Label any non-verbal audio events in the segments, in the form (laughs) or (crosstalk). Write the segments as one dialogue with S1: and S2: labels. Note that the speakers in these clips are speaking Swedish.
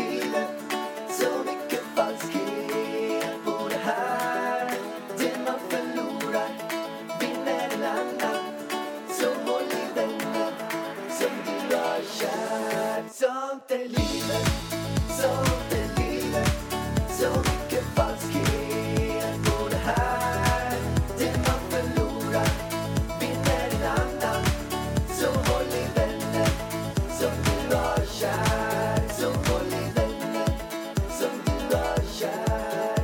S1: livet Så mycket falskhet på det här Det man förlorar vinner en annan Så håll i denna som du har kär Sånt är livet, sånt är livet Så mycket falskhet på det här Det man förlorar vinner en annan Så håll i vänner som du har kär Så håll i vänner som du har kär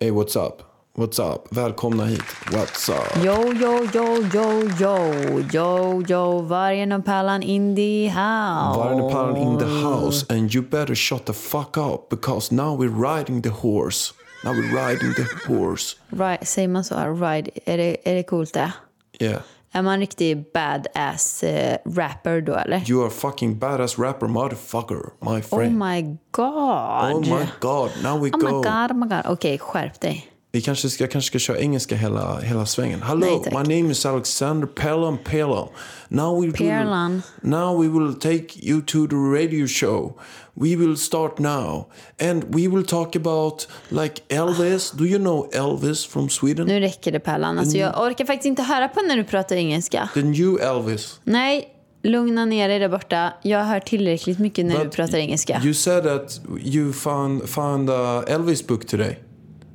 S2: Hey, what's up? What's up? Välkomna hit. What's up?
S3: Yo, yo, yo, yo, yo, yo, yo, vargen och pärlan in the house.
S2: Vargen och Pallen in the house and you better shut the fuck up because now we're riding the horse. Now we're riding the horse.
S3: Ri- säger man så? här, Ride, är det, är det coolt det?
S2: Yeah.
S3: Är man en riktig badass eh, rapper då eller?
S2: You are fucking badass rapper motherfucker, my
S3: Oh
S2: friend.
S3: my god.
S2: Oh my god, now we
S3: Oh my
S2: go.
S3: god, oh my god. Okej, skärp dig.
S2: Vi kanske ska, jag kanske ska köra engelska hela, hela svängen. Hello,
S3: Nej, tack.
S2: my name is Alexander Pelham Pelham. Now we will-
S3: Pelham.
S2: now we will take you to the radio show. We will start now. And we will talk about like Elvis. Do you know Elvis from Sweden?
S3: Nu räcker det Pärlan. Alltså,
S2: Mm.
S3: jag orkar faktiskt inte höra på när du pratar engelska.
S2: The new Elvis.
S3: Nej, lugna ner dig där borta. Jag hör tillräckligt mycket när du
S2: But
S3: pratar engelska.
S2: You said that you found, found a Elvis book today.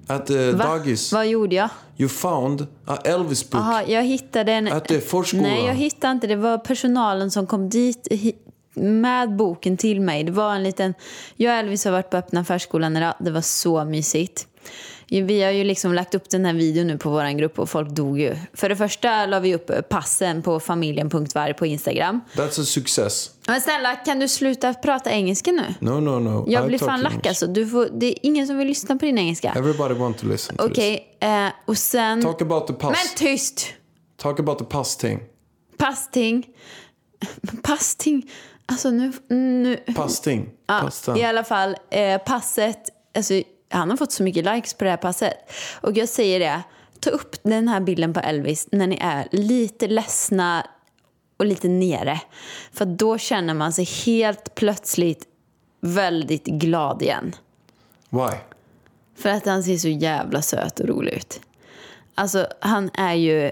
S2: At the
S3: Va?
S2: dagis.
S3: Vad gjorde jag?
S2: You found a Elvis book.
S3: Jaha, jag hittade en...
S2: Att det är förskola.
S3: Nej, jag hittade inte. Det var personalen som kom dit hi- med boken till mig. Det var en liten... Jag och Elvis har varit på öppna förskolan idag. Det var så mysigt. Ju- Vi har ju liksom lagt upp den här videon nu på vår grupp och folk dog ju. För det första la vi upp eh, passen på familjen.varg på Instagram.
S2: That's a success.
S3: Men snälla, kan du sluta prata engelska nu?
S2: No, no, no.
S3: Jag
S2: I
S3: blir
S2: talk
S3: fan lack
S2: English.
S3: alltså. Du får, det är ingen som vill lyssna på din engelska.
S2: Everybody want to listen to this.
S3: Okej, eh, och sen...
S2: Talk about the past.
S3: Men tyst!
S2: Talk about the past thing.
S3: Pasting. Pasting. Alltså nu... nu.
S2: Pasting.
S3: Ah, Ja,
S2: Pastan.
S3: I alla fall, eh, passet. Alltså, han har fått så mycket likes på det här passet. Och jag säger det, ta upp den här bilden på Elvis när ni är lite ledsna och lite nere. För då känner man sig helt plötsligt väldigt glad igen.
S2: Why?
S3: För att han ser så jävla söt och rolig ut. Alltså han är ju,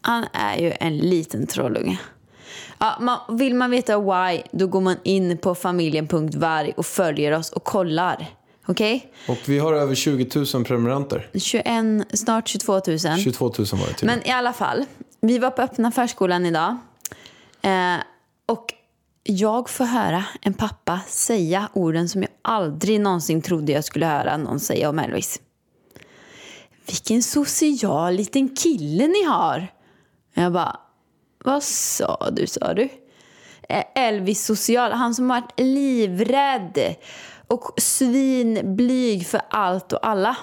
S3: han är ju en liten trollunge. Ja, man, vill man veta why, då går man in på familjen.varg och följer oss och kollar. Okej?
S2: Och vi har över 20 000 prenumeranter.
S3: 21, snart 22 000.
S2: 22 000 var det till.
S3: Men i alla fall, vi var på öppna förskolan idag. Eh, och jag får höra en pappa säga orden som jag aldrig någonsin trodde jag skulle höra någon säga om Elvis. Vilken social liten kille ni har! Jag bara, vad sa du, sa du? Eh, Elvis social, han som varit livrädd och svinblyg för allt och alla.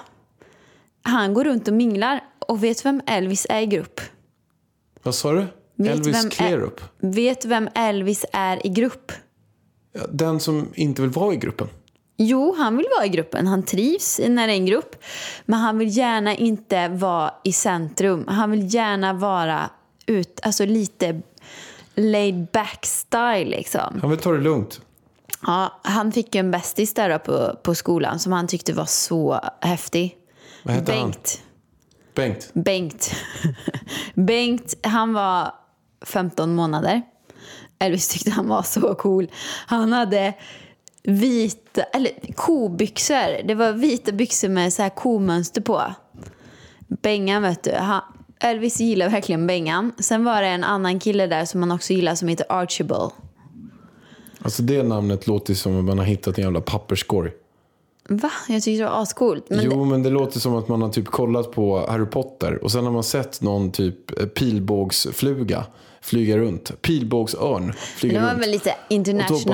S3: Han går runt och minglar. Och vet vem Elvis är i grupp?
S2: Vad sa du?
S3: Vet
S2: Elvis
S3: vem
S2: Klerup.
S3: Är, vet vem Elvis är i grupp?
S2: Ja, Den som inte vill vara i gruppen.
S3: Jo, han vill vara i gruppen. Han trivs när det är en grupp. Men han vill gärna inte vara i centrum. Han vill gärna vara ut, alltså lite laid back style liksom.
S2: Han vill ta det lugnt.
S3: Ja, han fick ju en bästis där då på, på skolan som han tyckte var så häftig.
S2: Vad heter han?
S3: Bengt.
S2: Bengt.
S3: Bengt. Bengt, han var 15 månader. Elvis tyckte han var så cool. Han hade vita, eller kobyxor. Det var vita byxor med så här komönster på. Bengan vet du. Han, Elvis gillar verkligen Bengan. Sen var det en annan kille där som han också gillar som heter Archibald.
S2: Alltså det namnet låter som att man har hittat en jävla papperskorg.
S3: Va? Jag tyckte det var ascoolt. Men
S2: jo, men det låter som att man har typ kollat på Harry Potter och sen har man sett någon typ eh, pilbågsfluga flyga runt. Pilbågsörn
S3: det,
S2: flyga
S3: det var
S2: runt.
S3: väl lite
S2: Och då
S3: international.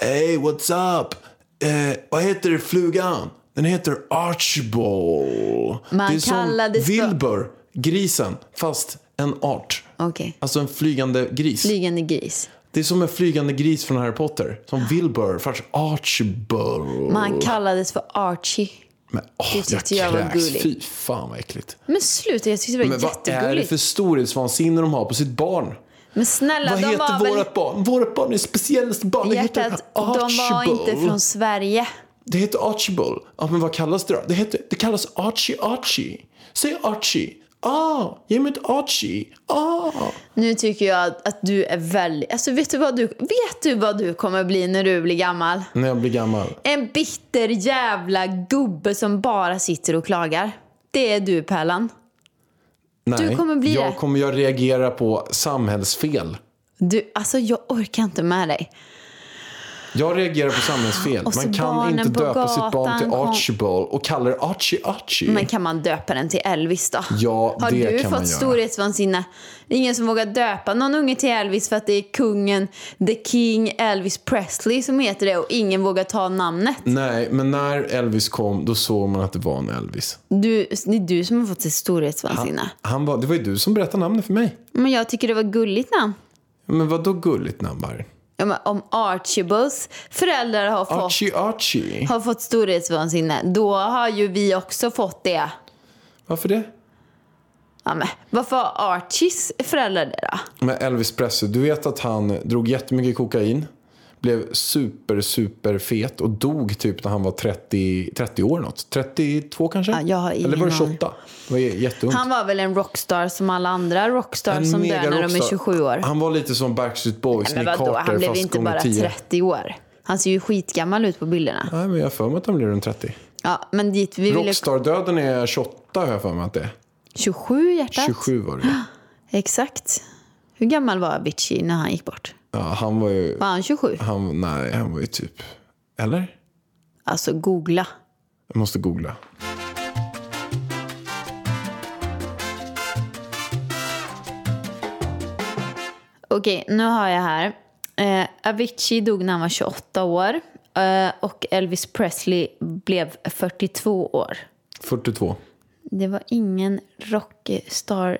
S2: bara, Hey, what's up? Eh, vad heter flugan? Den heter Archibald.
S3: Man
S2: det är
S3: kallades
S2: som
S3: för-
S2: Wilbur, grisen, fast en art.
S3: Okej.
S2: Alltså en flygande gris.
S3: Flygande gris.
S2: Det är som en flygande gris från Harry Potter. Som Wilbur, fast Archibald.
S3: Man kallades för Archie.
S2: Men åh,
S3: Det tyckte jag
S2: jag
S3: var
S2: kräks.
S3: gulligt.
S2: Fy fan vad äckligt.
S3: Men sluta, jag tyckte det var
S2: Men vad är det
S3: jättegulligt.
S2: för storhetsvansinne de har på sitt barn?
S3: Men snälla,
S2: Vad
S3: de
S2: heter
S3: var
S2: vårt
S3: väl...
S2: barn? Vårt barn är speciellt barn. Det heter
S3: Hjärtat, de var inte
S2: Archibald.
S3: från Sverige.
S2: Det heter Archibald. Ja, men vad kallas det då? Det, heter, det kallas Archie Archie. Säg Archie. Ah, ge mig ett Archie. Ah.
S3: Nu tycker jag att, att du är väldigt... Alltså, vet du, vad du, vet du vad du kommer bli när du blir gammal?
S2: När jag blir gammal.
S3: En bitter jävla gubbe som bara sitter och klagar. Det är du, Pärlan.
S2: Nej,
S3: Du kommer bli
S2: jag
S3: det.
S2: kommer jag reagera på samhällsfel.
S3: Du, alltså jag orkar inte med dig.
S2: Jag reagerar på samhällsfel.
S3: Och så
S2: Man kan
S3: barnen
S2: inte
S3: på
S2: döpa sitt barn till
S3: gatan kom-
S2: Archibald och kalla det Archie Archie.
S3: Men kan man döpa den till Elvis då?
S2: Ja,
S3: Har
S2: det
S3: du
S2: kan man
S3: fått
S2: göra.
S3: storhetsvansinne? Det är ingen som vågar döpa någon unge till Elvis för att det är kungen, the king, Elvis Presley som heter det och ingen vågar ta namnet.
S2: Nej, men när Elvis kom då såg man att det var en Elvis.
S3: Du, det är du som har fått sitt storhetsvansinne.
S2: Han var, det var ju du som berättade namnet för mig.
S3: Men jag tycker det var gulligt namn.
S2: Men vad då gulligt namn Barry?
S3: Ja, men Om Archibalds föräldrar har fått,
S2: Archie Archie.
S3: har fått storhetsvansinne, då har ju vi också fått det.
S2: Varför det?
S3: Ja, men, varför har Archies föräldrar det då?
S2: Men Elvis Presley, du vet att han drog jättemycket kokain. Blev super, super fet och dog typ när han var 30, 30 år något. 32 kanske?
S3: Ja, jag har ingen
S2: Eller var det
S3: aning.
S2: 28? Det var j- jätteungt.
S3: Han var väl en rockstar som alla andra rockstars
S2: En
S3: som dör när de är
S2: megarockstar.
S3: 27 år.
S2: Han var lite som Backstreet Boys,
S3: Men
S2: Nick
S3: vadå,
S2: Carter
S3: han blev
S2: fast
S3: inte
S2: gånger
S3: bara
S2: 10.
S3: 30 år. Han ser ju skitgammal ut på bilderna.
S2: Nej, men jag har för mig att han blev runt 30.
S3: Ja, men dit vi ville...
S2: Rockstar-döden är 28 har jag för mig att det är.
S3: 27 hjärtat?
S2: 27 var det ju.
S3: Exakt. Hur gammal var Avicii när han gick bort?
S2: ja, Han var ju...
S3: Var han 27?
S2: Han, nej, han var ju typ... Eller?
S3: Alltså googla.
S2: Jag måste googla.
S3: Okej, nu har jag här. Eh, Avicii dog när han var 28 år. Eh, och Elvis Presley blev 42 år.
S2: 42.
S3: Det var ingen rockstar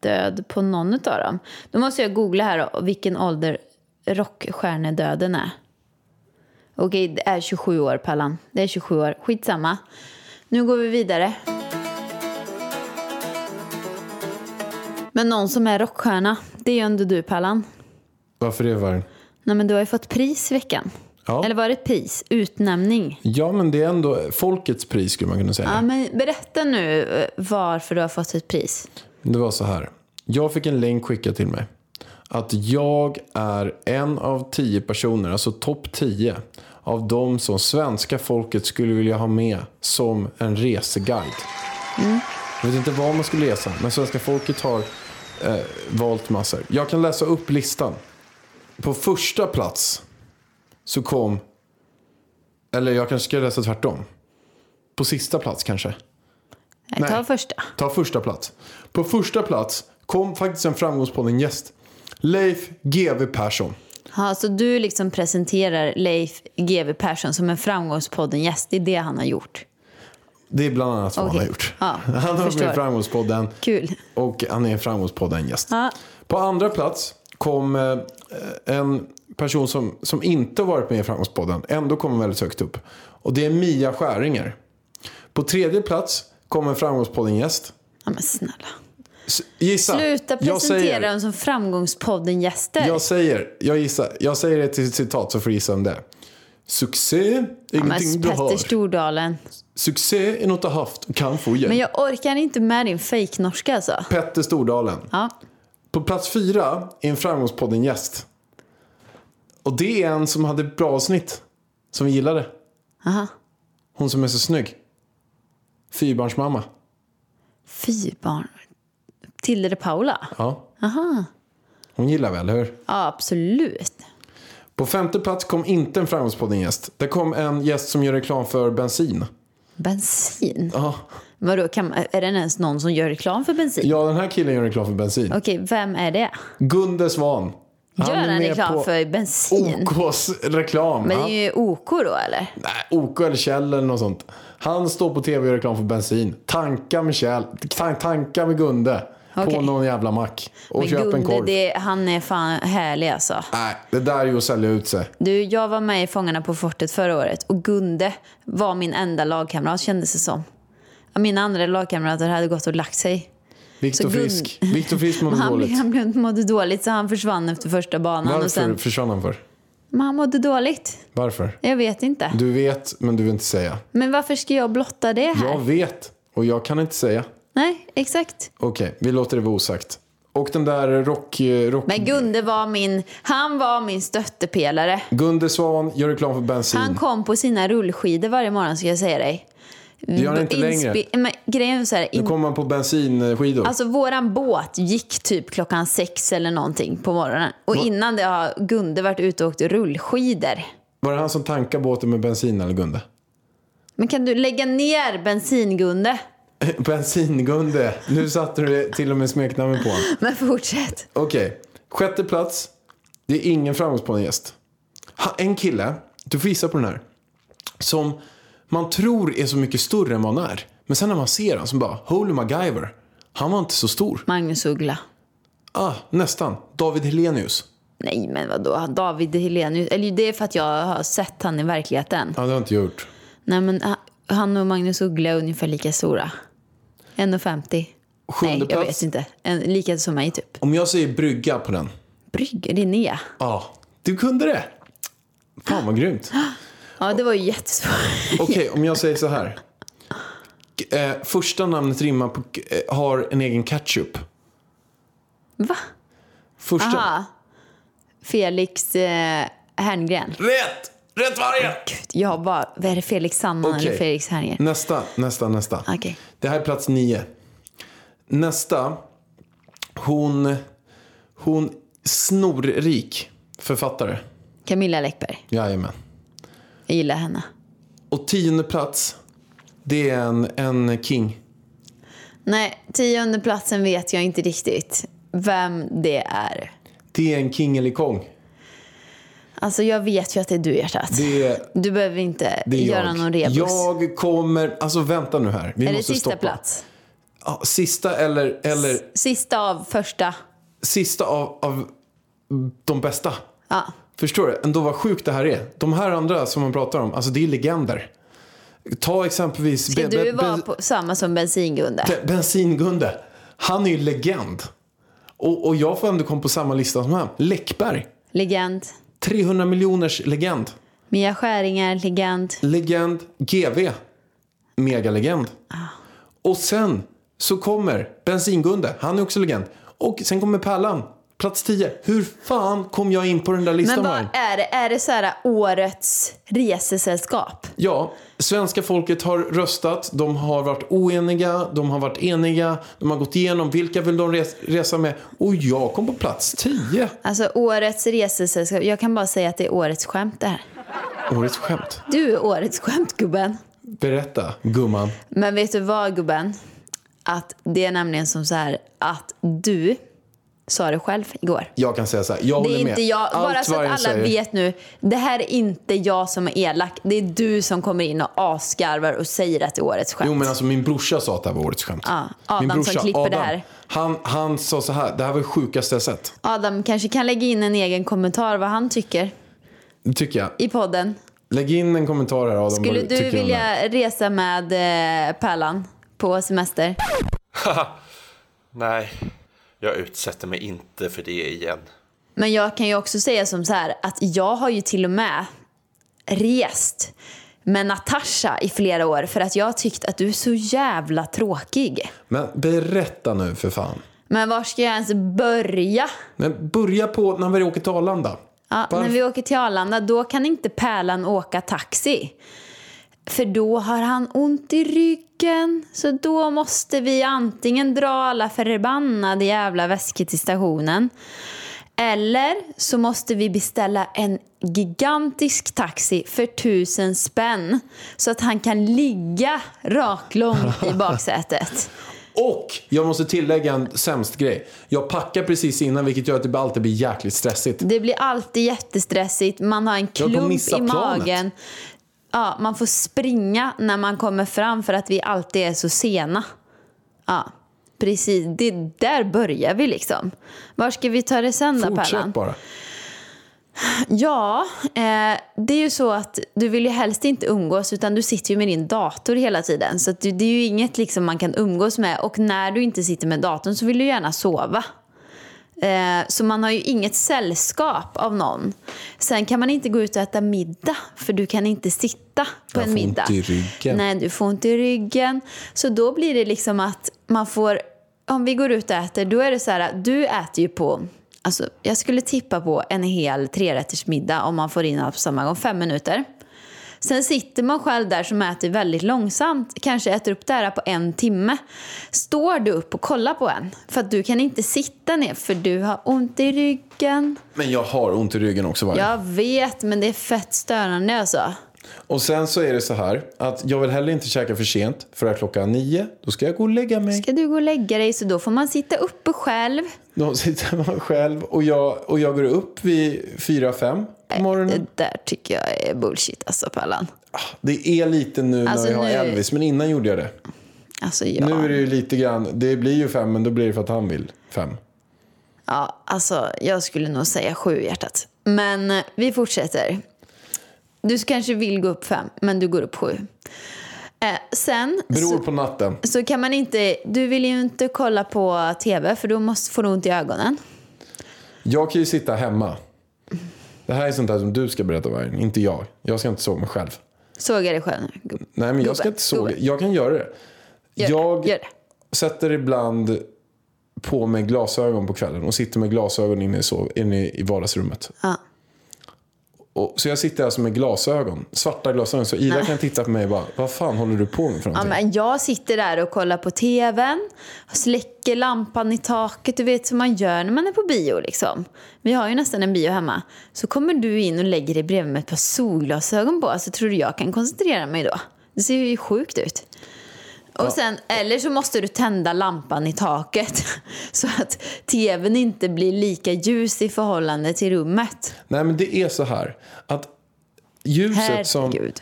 S3: död på någon av dem. Då måste jag googla här då, vilken ålder rockstjärnedöden är. Okej, det är 27 år, Pallan. Det är 27 år. Skitsamma. Nu går vi vidare. Men någon som är rockstjärna, det är ju ändå du, Pallan.
S2: Varför det, Varg?
S3: Nej, men du har ju fått pris i veckan.
S2: Ja.
S3: Eller var det ett pris? Utnämning.
S2: Ja, men det är ändå folkets pris skulle man kunna säga.
S3: Ja, men berätta nu eh, varför du har fått ett pris.
S2: Det var så här. Jag fick en länk skickad till mig. Att jag är en av tio personer, alltså topp 10 av de som svenska folket skulle vilja ha med som en reseguide. Jag vet inte vad man skulle resa, men svenska folket har eh, valt massor. Jag kan läsa upp listan. På första plats så kom... Eller jag kanske ska läsa tvärtom. På sista plats kanske.
S3: Nej. Ta
S2: Nej.
S3: första.
S2: Ta första plats. På första plats kom faktiskt en framgångspodden gäst. Leif GW Persson.
S3: Ja, så du liksom presenterar Leif GW Persson som en framgångspodden-gäst. Det är det han har gjort.
S2: Det är bland annat vad han
S3: Okej.
S2: har gjort.
S3: Ja,
S2: (laughs) han har varit med
S3: förstår.
S2: i framgångspodden
S3: Kul.
S2: och han är en framgångspodden gäst.
S3: Ja.
S2: På andra plats kom eh, en person som, som inte varit med i framgångspodden. Ändå kommer väldigt högt upp. Och det är Mia Skäringer. På tredje plats kom en framgångspodden gäst.
S3: Ja, men snälla.
S2: S- Gissa.
S3: Sluta
S2: Jag säger-
S3: presentera dem som framgångspodden-gäster.
S2: Jag säger, jag gissar, jag säger ett citat så får du gissa om det är. Succé är
S3: Ja, men
S2: ingenting du
S3: Petter
S2: har.
S3: Stordalen.
S2: Succé är något du har haft och kan få igen.
S3: Men jag orkar inte med din fejknorska alltså.
S2: Petter Stordalen.
S3: Ja.
S2: På plats fyra är en framgångspodden-gäst. Och det är en som hade ett bra avsnitt. Som vi gillade.
S3: Aha.
S2: Hon som är så snygg. Fyrbarnsmamma.
S3: Fy barn. Tilde de Paula?
S2: Ja. Hon gillar väl, eller hur?
S3: Ja, absolut.
S2: På femte plats kom inte en framgångspodden-gäst. Det kom en gäst som gör reklam för bensin.
S3: Bensin?
S2: Ja.
S3: Vadå, kan, man- är det ens någon som gör reklam för bensin?
S2: ja, den här killen gör reklam för bensin.
S3: Okej, vem är det?
S2: Gunde Svan.
S3: Gör
S2: är
S3: han
S2: med
S3: reklam
S2: på
S3: för bensin?
S2: OKs reklam.
S3: Men
S2: Han,
S3: det är ju OK då eller?
S2: nej, OK eller Kjell eller något sånt. Han står på tv och gör reklam för bensin. Tanka med Kjell. Tan, tanka med Gunde. På
S3: Okej.
S2: någon jävla mack. Och
S3: Men
S2: köp en
S3: Gunde,
S2: korv.
S3: det, han är fan härlig alltså.
S2: Nej, det där är ju att sälja ut sig.
S3: Du, jag var med i Fångarna på fortet förra året och Gunde var min enda lagkamrat kändes det som. Mina andra lagkamrater hade gått och lagt sig.
S2: Viktor
S3: Så Gun-
S2: Frisk. Viktor Frisk mådde
S3: (laughs) han, blev-
S2: dåligt.
S3: han blev, mådde dåligt så han försvann efter första banan.
S2: Varför
S3: Och sen,
S2: försvann han för?
S3: men han mådde dåligt.
S2: Varför?
S3: Jag vet inte.
S2: Du vet, men du vill inte säga.
S3: Men varför ska jag blotta det här?
S2: Jag vet, och jag kan inte säga.
S3: Nej, exakt.
S2: Okej, vi låter det vara osagt. Och den där rock... rock...
S3: Men Gunde var min, han var min stöttepelare.
S2: Gunde Svan gör reklam för bensin.
S3: Han kom på sina rullskidor varje morgon ska jag säga dig.
S2: Det gör han inte längre.
S3: Men grejen är så här, in,
S2: Nu kommer man på bensinskidor.
S3: alltså våran båt gick typ klockan sex eller någonting på morgonen. Och innan det har Gunde varit ute och åkt rullskidor.
S2: Var det han som tankade båten med bensin eller Gunde?
S3: Men kan du lägga ner bensingunde?
S2: (laughs) Bensingunde. Nu satte du till och med smeknamnet på honom.
S3: Men fortsätt.
S2: Okej, sjätte plats. Det är ingen framgångspående gäst. Ha- En kille, du får gissa på den här, som man tror är så mycket större än vad han är. Men sen när man ser honom så bara, holy MacGyver. Han var inte så stor.
S3: Magnus Uggla.
S2: Ah, nästan. David Helenius.
S3: Nej men vadå, David Helenius. Eller det är för att jag har sett han i verkligheten.
S2: Ja, det har jag inte gjort.
S3: Nej men ha- han och Magnus Uggla är ungefär lika stora. 1,50.
S2: Sjunde
S3: Nej, jag
S2: plats.
S3: vet inte. En, lika som mig typ.
S2: Om jag säger brygga på den.
S3: Brygger, Linnea.
S2: Ja, du kunde det. Fan vad grymt.
S3: Ja, det var ju jättesvårt.
S2: Okej, om jag säger så här. K- Eh, första namnet rimmar på, k- eh, har en egen ketchup.
S3: Va?
S2: Första.
S3: Aha. Felix eh, Herngren.
S2: Rätt! Rätt varje!
S3: Gud, jag bara, vad är det Felix Sandman
S2: Okej.
S3: eller Felix Herngren?
S2: Nästa, nästa, nästa.
S3: Okej.
S2: Det här är plats nio. Nästa. Hon, hon snorrik författare.
S3: Camilla Läckberg.
S2: Jajamän.
S3: Jag gillar henne.
S2: Och tionde plats. Det är en, en king.
S3: Nej, tionde platsen vet jag inte riktigt vem det är.
S2: Det är en kingelikong.
S3: Alltså jag vet ju att det är du hjärtat.
S2: Det är
S3: Du behöver inte
S2: Det är
S3: göra
S2: jag.
S3: någon rebus.
S2: Jag kommer... Alltså vänta nu här. Vi
S3: är det
S2: måste
S3: sista
S2: stoppa.
S3: plats?
S2: Ja, sista eller, eller
S3: Sista av första.
S2: sista av, av de bästa.
S3: Ja.
S2: Förstår du? Ändå vad sjukt det här är. De här andra som man pratar om, alltså det är legender. Ta exempelvis...
S3: Ska
S2: be- be-
S3: du vara
S2: be-
S3: på samma som Bensingunde?
S2: Te- Bensingunde. Han är ju legend. Och, och jag får ändå komma på samma lista som han. Läckberg.
S3: Legend.
S2: 300 miljoners legend.
S3: Mia Skäringer, legend.
S2: Legend. GV. Megalegend.
S3: Ah.
S2: Och sen så kommer Bensingunde. Han är också legend. Och sen kommer Pärlan. Plats 10. Hur fan kom jag in på den där listan?
S3: Men
S2: Maren?
S3: vad är det? Är det så här årets resesällskap?
S2: Ja, svenska folket har röstat, de har varit oeniga, de har varit eniga, de har gått igenom vilka vill de res- resa med och jag kom på plats 10.
S3: Alltså årets resesällskap. Jag kan bara säga att det är årets skämt det här.
S2: Årets skämt.
S3: Du är årets skämt gubben.
S2: Berätta, gumman.
S3: Men vet du vad gubben? Att det är nämligen som så här att du sa det själv igår.
S2: Jag kan säga så här, jag
S3: Det
S2: håller
S3: är
S2: med.
S3: inte jag. Bara
S2: Allt
S3: så att
S2: vargen
S3: alla
S2: säger.
S3: vet nu. Det här är inte jag som är elak. Det är du som kommer in och asgarvar och säger att det är årets skämt.
S2: Jo men alltså min brorsa sa att det här var årets skämt.
S3: Ja, Ah, Adam
S2: min
S3: som
S2: brorsa,
S3: klipper
S2: Adam,
S3: det här.
S2: Han, han sa så här, det här var det sjukaste jag sett.
S3: Adam kanske kan lägga in en egen kommentar vad han tycker
S2: Det tycker jag.
S3: i podden. Skulle
S2: Lägg in en kommentar här Adam. vad
S3: du
S2: tycker om det här.
S3: vilja resa med eh, Pärlan på semester?
S4: Nej, jag utsätter mig inte för det igen.
S3: Men jag kan ju också säga som så här att jag har ju till och med rest med Natasha i flera år för att jag har tyckt att du är så jävla tråkig.
S2: Men berätta nu för fan.
S3: Men var ska jag ens börja?
S2: Men börja på när vi åker till Arlanda.
S3: Ja, när
S2: Varför-
S3: vi åker till Arlanda, då kan inte Pärlan åka taxi. För då har han ont i ryggen. Så då måste vi antingen dra alla förbannade jävla väskor till stationen. Eller så måste vi beställa en gigantisk taxi för tusen spänn. Så att han kan ligga raklång i baksätet.
S2: Och jag måste tillägga en sämst grej. Jag packar precis innan vilket gör att det alltid blir jäkligt stressigt.
S3: Det blir alltid jättestressigt. Man har en
S2: kommer
S3: klump
S2: missa
S3: i
S2: planet.
S3: magen. Ja, man får springa när man kommer fram för att vi alltid är så sena. Ja, precis. Det, där börjar vi liksom. Var ska vi ta det sen då, Pärlan?
S2: Fortsätt bara.
S3: Ja, eh, det är ju så att du vill ju helst inte umgås utan du sitter ju med din dator hela tiden. Så att du, det är ju inget liksom man kan umgås med och när du inte sitter med datorn så vill du gärna sova. Eh, så man har ju inget sällskap av någon. Sen kan man inte gå ut och äta middag för du kan inte sitta på
S2: Jag
S3: en
S2: får
S3: middag.
S2: ont i ryggen.
S3: Nej, du får ont i ryggen. Så då blir det liksom att man får, om vi går ut och äter, då är det så här, du äter ju på, alltså jag skulle tippa på en hel trerättersmiddag om man får in allt på samma gång, fem minuter. Sen sitter man själv där som äter väldigt långsamt, kanske äter upp det här på en timme. Står du upp och kollar på en? För att du kan inte sitta ner för du har ont i ryggen.
S2: Men jag har ont i ryggen också varje
S3: Jag vet, men det är fett störande alltså.
S2: Och sen så är det så här att jag vill heller inte käka för sent. För att klockan nio, då ska jag gå och lägga mig.
S3: Ska du gå och lägga dig så då får man sitta uppe själv.
S2: Då sitter man själv och jag, och jag går upp vid fyra, fem på morgonen.
S3: Eh,
S2: Ah,
S3: Det där tycker jag är bullshit alltså Pallan.
S2: Det är lite nu
S3: Alltså,
S2: när vi har
S3: nu-
S2: Elvis, men innan gjorde jag det.
S3: Alltså ja.
S2: Nu är det ju lite grann, det blir ju fem men då blir det för att han vill fem.
S3: ja alltså, jag skulle nog säga sju hjärtat. Men eh, vi fortsätter. Du kanske vill gå upp fem, men du går upp sju. Eh, sen
S2: Beror
S3: så,
S2: på natten.
S3: så kan man inte, du vill ju inte kolla på tv för då måste, får du ont i ögonen.
S2: Jag kan ju sitta hemma. Det här är sånt där som du ska berätta vargen, inte jag. Jag ska inte såga mig själv.
S3: Såg jag dig själv nu? Gubbe.
S2: Nej men jag ska
S3: Gubbe,
S2: inte såga,
S3: gubbe.
S2: jag kan göra det.
S3: Gör det,
S2: jag
S3: gör det.
S2: sätter ibland på mig glasögon på kvällen och sitter med glasögon inne i, sov, inne i vardagsrummet.
S3: Ja.
S2: Och, så jag sitter alltså med glasögon, svarta glasögon. Så Ida kan titta på mig och bara, vad fan håller du på med för
S3: Ja,
S2: någonting?
S3: men jag sitter där och kollar på tvn, släcker lampan i taket, du vet som man gör när man är på bio. Liksom. Vi har ju nästan en bio hemma. Så kommer du in och lägger dig bredvid med ett par solglasögon på, så tror du jag kan koncentrera mig då? Det ser ju sjukt ut. Och sen, eller så måste du tända lampan i taket (laughs) så att tvn inte blir lika ljus i förhållande till rummet.
S2: Nej men det är så här att ljuset som
S3: Herregud.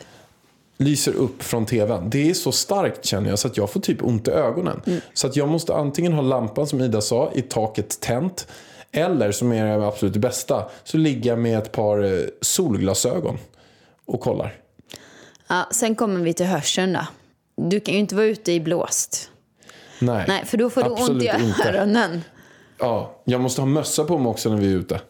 S2: lyser upp från tvn. Det är så starkt känner jag så att jag får typ ont i ögonen.
S3: Mm.
S2: Så att jag måste antingen ha lampan som Ida sa i taket tänt. Eller som är det absolut bästa så ligger jag med ett par eh, solglasögon och kollar.
S3: Ja, sen kommer vi till hörseln då. Du kan ju inte vara ute i blåst.
S2: Nej.
S3: Nej, för då får du ont
S2: Absolut
S3: i
S2: inte.
S3: öronen.
S2: Ja, jag måste ha mössa på mig också när vi är ute.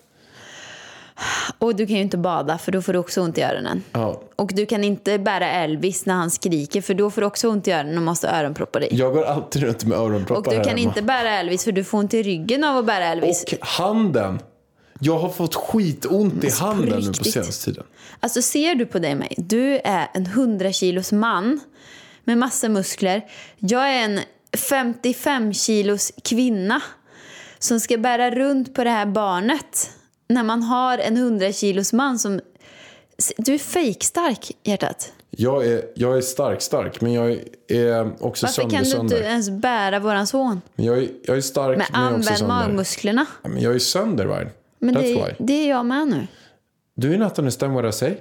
S3: Och du kan ju inte bada för då får du också ont i öronen.
S2: Ja.
S3: Och du kan inte bära Elvis när han skriker för då får du också ont i öronen och måste ha öronproppar i.
S2: Jag går alltid runt med öronproppar
S3: Och du
S2: här
S3: kan
S2: hemma.
S3: inte bära Elvis för du får ont i ryggen av att bära Elvis.
S2: Och handen. Jag har fått skitont i handen nu på
S3: Mm, riktigt.
S2: senaste tiden.
S3: Alltså ser du på dig mig? Du är en 100 kilos man med massa muskler. Jag är en 55 kilos kvinna som ska bära runt på det här barnet när man har en 100 kilos man som... Du är fejkstark, hjärtat.
S2: Jag är, jag är stark, stark, men jag är också
S3: Varför
S2: sönder,
S3: kan du inte
S2: sönder.
S3: ens bära våran son?
S2: Men jag, är, jag är stark,
S3: Men
S2: men jag är också
S3: använd
S2: sönder.
S3: magmusklerna.
S2: Ja, Men jag är sönder, Ryan.
S3: Men
S2: That's
S3: det,
S2: why.
S3: det är jag med nu.
S2: Do you not understand what I say?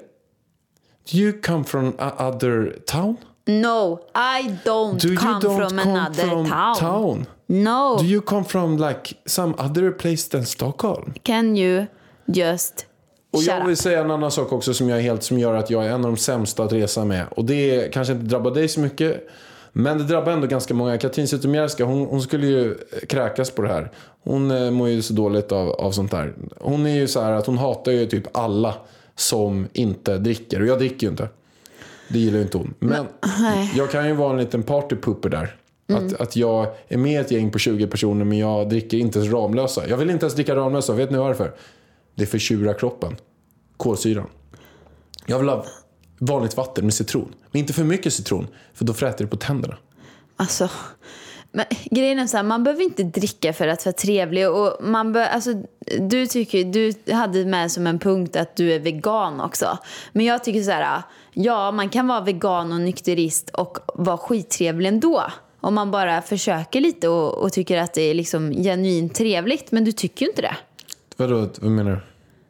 S2: Do you come from a other town?
S3: No, I don't
S2: Do
S3: come
S2: you don't
S3: from
S2: come
S3: another
S2: from
S3: town. Oh.
S2: town?
S3: No,
S2: Do you come from like some other place than Stockholm?
S3: can you just
S2: Och
S3: shut
S2: jag
S3: up?
S2: vill säga en annan sak också som jag är helt som gör att jag är en av de sämsta att resa med. Och det kanske inte drabbar dig så mycket. Men det drabbar ändå ganska många. Katrin Zytomierska, hon, hon skulle ju kräkas på det här. Hon eh, mår ju så dåligt av, av sånt här. Hon är ju så här att hon hatar ju typ alla som inte dricker. Och jag dricker ju inte. Det gillar ju inte hon. Men jag kan ju vara en liten partypooper där. Att, att jag är med i ett gäng på 20 personer men jag dricker inte ens Ramlösa. Jag vill inte ens dricka Ramlösa. Vet ni varför? Det förtjurar kroppen. Kolsyran. Jag vill ha vanligt vatten med citron. Men inte för mycket citron, för då fräter det på tänderna.
S3: Alltså, men grejen är så här, man behöver inte dricka för att vara trevlig. Och man bör, alltså, du, tycker, du hade med som en punkt att du är vegan också. Men jag tycker så här, ja man kan vara vegan och nykterist och vara skittrevlig ändå. Om man bara försöker lite och, och tycker att det är liksom genuint trevligt. Men du tycker ju inte det.
S2: Vadå, vad menar du?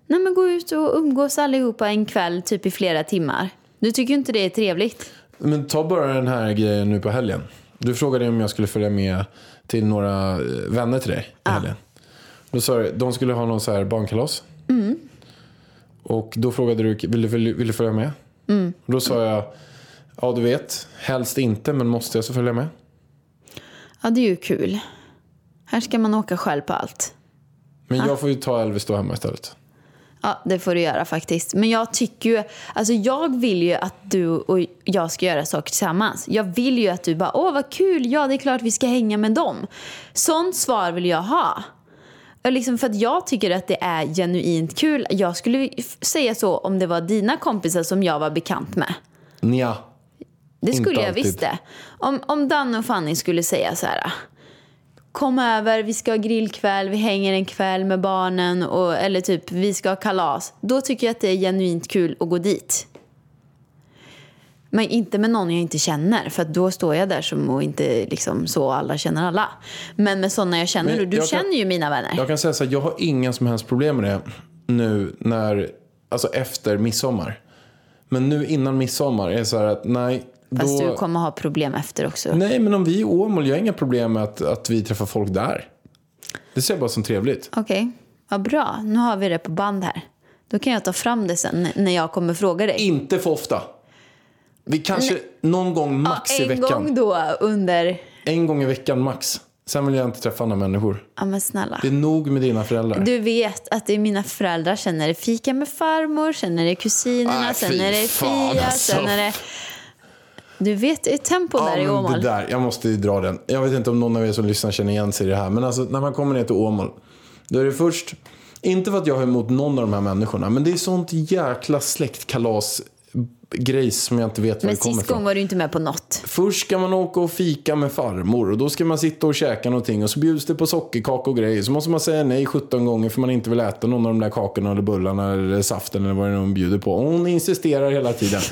S3: Nej men gå ut och umgås allihopa en kväll typ i flera timmar. Du tycker ju inte det är trevligt.
S2: Men ta bara den här grejen nu på helgen. Du frågade om jag skulle följa med till några eh,
S3: Ah. Mm.
S2: vänner till dig i helgen. Då sa du, de skulle ha någon så här barnkalas. Och då frågade du, vill du, vill, du- vill du följa med?
S3: Mm.
S2: Och då sa jag, ja du vet, helst inte men måste jag så följa med?
S3: Ja, det är ju kul. Här ska man åka själv på allt.
S2: Men
S3: Ah.
S2: jag får ju ta Elvis då hemma istället.
S3: Ja, det får du göra faktiskt. Men jag tycker ju, alltså jag vill ju att du och jag ska göra saker tillsammans. Jag vill ju att du bara, åh vad kul, ja det är klart vi ska hänga med dem. Sånt svar vill jag ha. Och Liksom för att jag tycker att det är genuint kul. Jag skulle ju f- säga så om det var dina kompisar som jag var bekant med.
S2: Nja.
S3: Det
S2: Inte
S3: skulle jag
S2: alltid.
S3: visst det. Om, om Danne och Fanny skulle säga så här. Kom över, vi ska ha grillkväll, vi hänger en kväll med barnen och, eller typ vi ska ha kalas. Då tycker jag att det är genuint kul att gå dit. Men inte med någon jag inte känner för att då står jag där som och inte liksom så alla känner alla. Men med sådana jag känner,
S2: Men
S3: och du
S2: jag kan-
S3: känner ju mina vänner.
S2: Jag kan säga så här, jag har inga som helst problem med det nu när, alltså efter midsommar. Men nu innan midsommar är det så här att nej.
S3: Fast
S2: då...
S3: du kommer ha problem efter också.
S2: Nej, men om vi är i Åmål, jag har inga problem med att, att vi träffar folk där. Det ser jag bara som trevligt.
S3: Okej, vad bra. Nu har vi det på band här. Då kan jag ta fram det sen när jag kommer fråga dig.
S2: Inte för ofta. Vi kanske någon gång max
S3: Ja,
S2: i
S3: en
S2: veckan.
S3: gång då under...
S2: En gång i veckan max. Sen vill jag inte träffa andra människor.
S3: Ja men snälla.
S2: Det är nog med dina föräldrar.
S3: Du vet att det är mina föräldrar, sen är det fika med farmor, sen är det kusinerna,
S2: Nej,
S3: sen
S2: fy
S3: är det
S2: fan,
S3: Fia,
S2: alltså.
S3: sen är det... Du vet, det är tempo där i
S2: men
S3: Åmål.
S2: Det där, jag måste ju dra den. Jag vet inte om någon av er som lyssnar känner igen sig i det här. Men alltså, när man kommer ner till Åmål. Då är det först, inte för att jag har emot någon av de här människorna. Men det är sånt jäkla släktkalas-grejs som jag inte vet var
S3: Men
S2: det kommer
S3: sist
S2: ifrån.
S3: gång var du inte med på något.
S2: Först ska man åka och fika med farmor och då ska man sitta och käka någonting och så bjuds det på sockerkaka och grejer. Så måste man säga nej 17 gånger för man inte vill äta någon av de där kakorna eller bullarna eller saften eller vad det är hon bjuder på. Och hon insisterar hela tiden.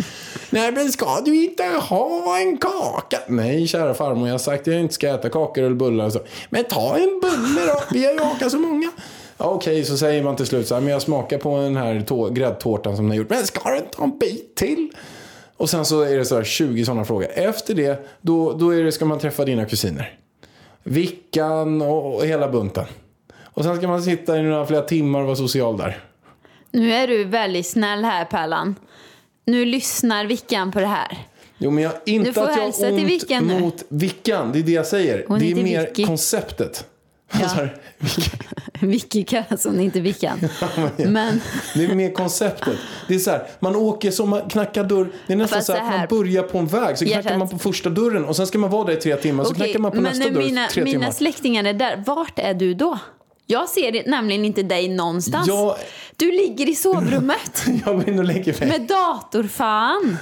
S2: nej men ska du inte ha en kaka? Nej kära farmor, jag har sagt att jag inte ska äta kakor eller bullar. Och så. Men ta en bulle då, vi har ju åkat så många. Ja, Okej, så säger man till slut så här, men jag smakar på den här tå- gräddtårtan som ni har gjort. Men ska du inte ha en bit till? Och sen så är det så här 20 sådana frågor. Efter det, då, då är det, ska man träffa dina kusiner. Vickan och, och hela bunten. Och sen ska man sitta i några flera timmar och vara social där.
S3: Nu är du väldigt snäll här Pärlan. Nu lyssnar Vickan på det här. (laughs)
S2: Jo, men jag, inte
S3: Du får
S2: att jag
S3: hälsa
S2: har
S3: till
S2: ont
S3: Vickan nu.
S2: mot Vickan. Det är det jag säger.
S3: Hon
S2: det är
S3: heter
S2: mer
S3: Vicky.
S2: konceptet. (laughs)
S3: Ja.
S2: Så här,
S3: Vicky kallas hon, inte Vickan.
S2: (laughs)
S3: Men...
S2: det är mer konceptet. Det är så här, man åker som man knackar dörr. Det är nästan
S3: Fast
S2: så här
S3: så
S2: att man
S3: här-
S2: börjar på en väg. Så knackar
S3: Hjärtat.
S2: man på första dörren och sen ska man vara där i tre timmar. så
S3: Okej,
S2: knackar man på
S3: men
S2: nästa
S3: när
S2: dörr i
S3: mina,
S2: tre
S3: mina
S2: timmar.
S3: släktingar är där, vart är du då? Jag ser det, nämligen inte dig någonstans.
S2: Jag-
S3: Du ligger i sovrummet
S2: (laughs) Jag går in och lägger mig.
S3: med dator, fan.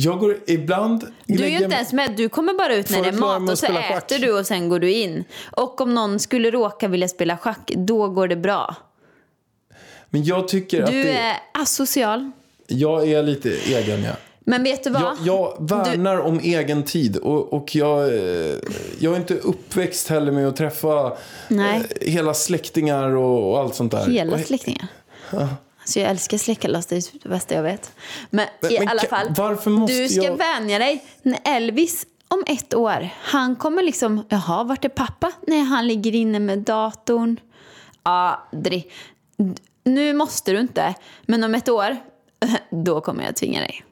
S2: Jag går ibland...
S3: Du är ju inte ens med, du kommer bara ut när
S2: Får
S3: det
S2: du
S3: är
S2: klara
S3: mat
S2: mig
S3: och
S2: att
S3: så
S2: spela
S3: äter
S2: schack?
S3: du och sen går du in. Och om någon skulle råka vilja spela schack, då går det bra.
S2: Men jag tycker att
S3: Du
S2: det,
S3: är asocial.
S2: jag är lite egen. Ja.
S3: Men vet du vad?
S2: Jag, jag värnar om egen tid och, och jag, eh, jag är inte uppväxt heller med att träffa
S3: Nej.
S2: eh, hela släktingar och, och allt sånt där.
S3: Hela
S2: Och-
S3: släktingar. Alltså jag älskar släktkalas, det är typ det bästa jag vet. Men,
S2: Men-
S3: i
S2: men
S3: alla
S2: ka-
S3: fall,
S2: varför måste
S3: du ska
S2: jag-
S3: vänja dig. När Elvis om ett år, han kommer liksom, jaha, vart är pappa? Nej, han ligger inne med datorn. Aldrig. D- Nu måste du inte, men om ett år, (laughs) då kommer jag tvinga dig.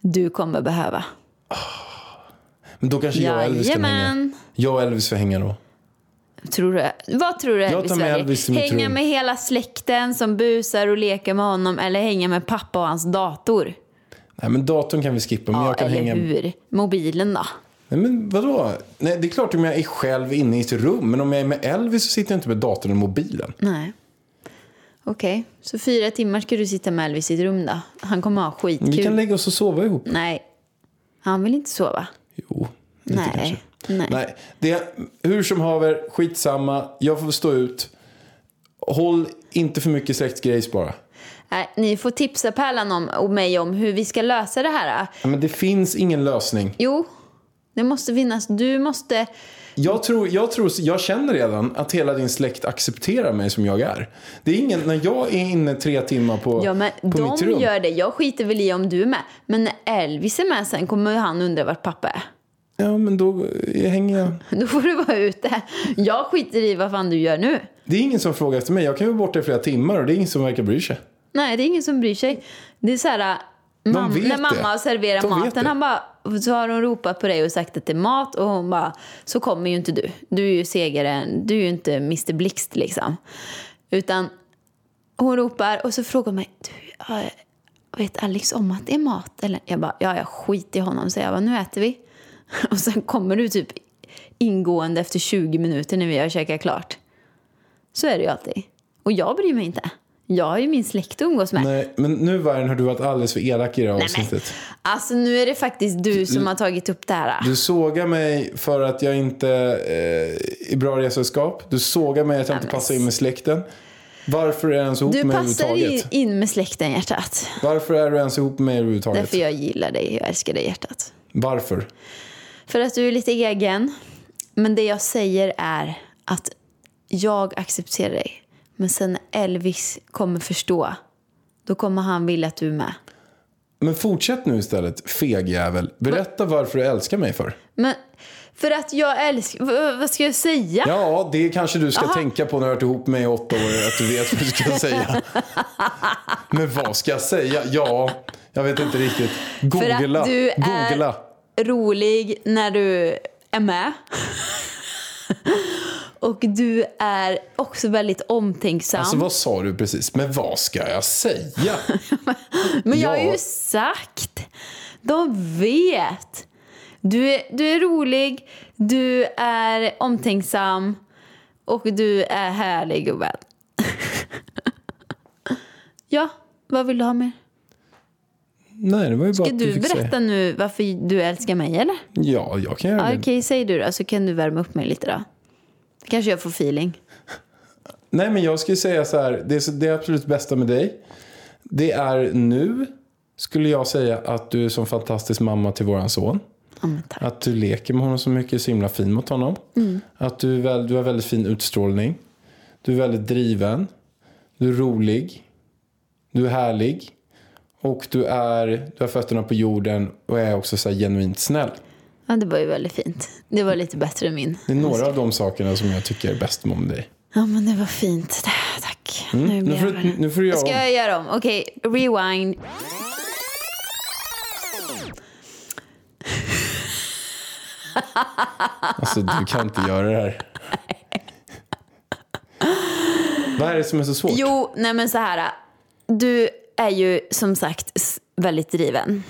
S3: Du kommer behöva.
S2: Men då kanske jag och Elvis kan hänga.
S3: Jajamän.
S2: Jag och Elvis får hänga då.
S3: Tror du, vad tror du Elvis
S2: tar med
S3: väljer?
S2: Elvis i mitt
S3: Hänga
S2: rum.
S3: med hela släkten som busar och leker med honom eller hänga med pappa och hans dator?
S2: Nej men datorn kan vi skippa men
S3: Ja,
S2: jag kan
S3: eller
S2: hänga.
S3: hur? Mobilen då?
S2: Nej men vadå? Nej det är klart om jag är själv inne i ett rum men om jag är med Elvis så sitter jag inte med datorn och mobilen.
S3: Nej. Okej, så fyra timmar ska du sitta med Elvis i ett rum då? Han kommer ha skitkul.
S2: Vi kan lägga oss och sova ihop.
S3: Nej, han vill inte sova.
S2: Jo, lite kanske.
S3: Nej. Nej.
S2: Nej, det, hur som haver, skitsamma. Jag får stå ut. Håll inte för mycket släktgrejs bara.
S3: Nej, Äh, Ni får tipsa Pärlan om, och mig om hur vi ska lösa det här.
S2: Ja, Men det finns ingen lösning.
S3: Jo, det måste finnas. Du måste...
S2: Jag, tror, jag, tror, jag känner redan att hela din släkt accepterar mig som jag är. Det är ingen, när jag är inne tre timmar på,
S3: Ja, men
S2: på
S3: de
S2: mitt rum.
S3: gör det. Jag skiter väl i om du är med. Men när Elvis är med sen kommer han undra vart pappa är. (laughs)
S2: Ja, men då eh, hänger jag.
S3: Då får du vara ute. Jag skiter i vad fan du gör nu.
S2: Det är ingen som frågar efter mig. Jag kan ju vara borta i flera timmar och det är ingen som verkar bry sig.
S3: Nej, det är ingen som bryr sig. Det är så här, äh, mam-
S2: vet
S3: när mamma
S2: det.
S3: serverar
S2: De vet
S3: maten,
S2: det.
S3: han bara, så har hon ropat på dig och sagt att det är mat och hon bara, så kommer ju inte du. Du är ju segaren, du är ju inte Mr Blixt liksom. Utan hon ropar och så frågar hon mig, du, eh, vet Alex om att det är mat? Eller? Jag bara, ja jag skit i honom, så jag bara, nu äter vi. (laughs) Och sen kommer du typ ingående efter 20 minuter när vi har käkat klart. Så är det ju alltid. Och jag bryr mig inte. Jag har ju min släkt att umgås med.
S2: Nej, men nu Vargen har du varit alldeles för elak i det här
S3: Nej, men-
S2: avsnittet.
S3: Alltså nu är det faktiskt du som har tagit upp det här.
S2: Du sågar mig för att jag inte eh, är bra resesällskap. Du sågar mig att jag inte
S3: men-
S2: passar in med släkten. Varför är du ens ihop
S3: Du
S2: med mig
S3: passar in,
S2: överhuvudtaget?
S3: in med släkten hjärtat.
S2: Varför är du ens ihop med mig överhuvudtaget?
S3: Därför jag gillar dig och älskar dig hjärtat.
S2: Varför?
S3: För att du är lite egen. Men det jag säger är att jag accepterar dig. Men sen när Elvis kommer förstå, då kommer han vilja att du är med.
S2: Men fortsätt nu istället, fegjävel. Berätta varför du älskar mig för.
S3: Men för att jag älskar... v- Vad ska jag säga?
S2: Ja, det kanske du ska tänka på när du har varit ihop med mig i åtta år, att du vet vad du ska
S3: (laughs)
S2: säga. Men vad ska jag säga? Ja, jag vet inte riktigt.
S3: att
S2: Googla,
S3: du är-
S2: googla.
S3: rolig när du
S2: (laughs)
S3: är med. Och du är också väldigt omtänksam.
S2: Alltså vad sa du precis? Men vad ska jag säga?
S3: Men jag har
S2: ja.
S3: ju sagt. De vet. Du är, du är rolig, du är omtänksam och du är härlig gubben. (laughs) ja, vad vill du ha mer?
S2: Nej, det var ju bara
S3: Ska
S2: att du
S3: du
S2: fick
S3: berätta
S2: säga.
S3: nu varför du älskar mig eller?
S2: Ja, jag kan göra
S3: Ja,
S2: det.
S3: Okej, säg du då så kan du värma upp mig lite då. Kanske jag får feeling.
S2: Nej, men jag skulle säga så här. Det, är så- det är absolut bästa med dig. Det är nu, skulle jag säga, att du är som fantastisk mamma till våran son.
S3: Ja, men tack.
S2: Att du leker med honom så mycket, är så himla fin mot honom.
S3: Mm.
S2: Att du, är väl, du har väldigt fin utstrålning. Du är väldigt driven. Du är rolig. Du är härlig. Och du, är, du har fötterna på jorden och är också så här genuint snäll.
S3: Ja, det var ju väldigt fint. Det var lite bättre än min.
S2: Det är några av de sakerna som jag tycker är bäst om dig.
S3: Ja, men det var fint. Tack. Nu
S2: Mm. Nu
S3: blir
S2: får,
S3: jag
S2: du-
S3: varm.
S2: nu får du göra
S3: Ska
S2: om.
S3: jag göra om? Okej, rewind.
S2: Alltså du kan inte göra det här. Vad är det som är så svårt?
S3: Jo, nej men så här. Du är ju som sagt s- väldigt driven.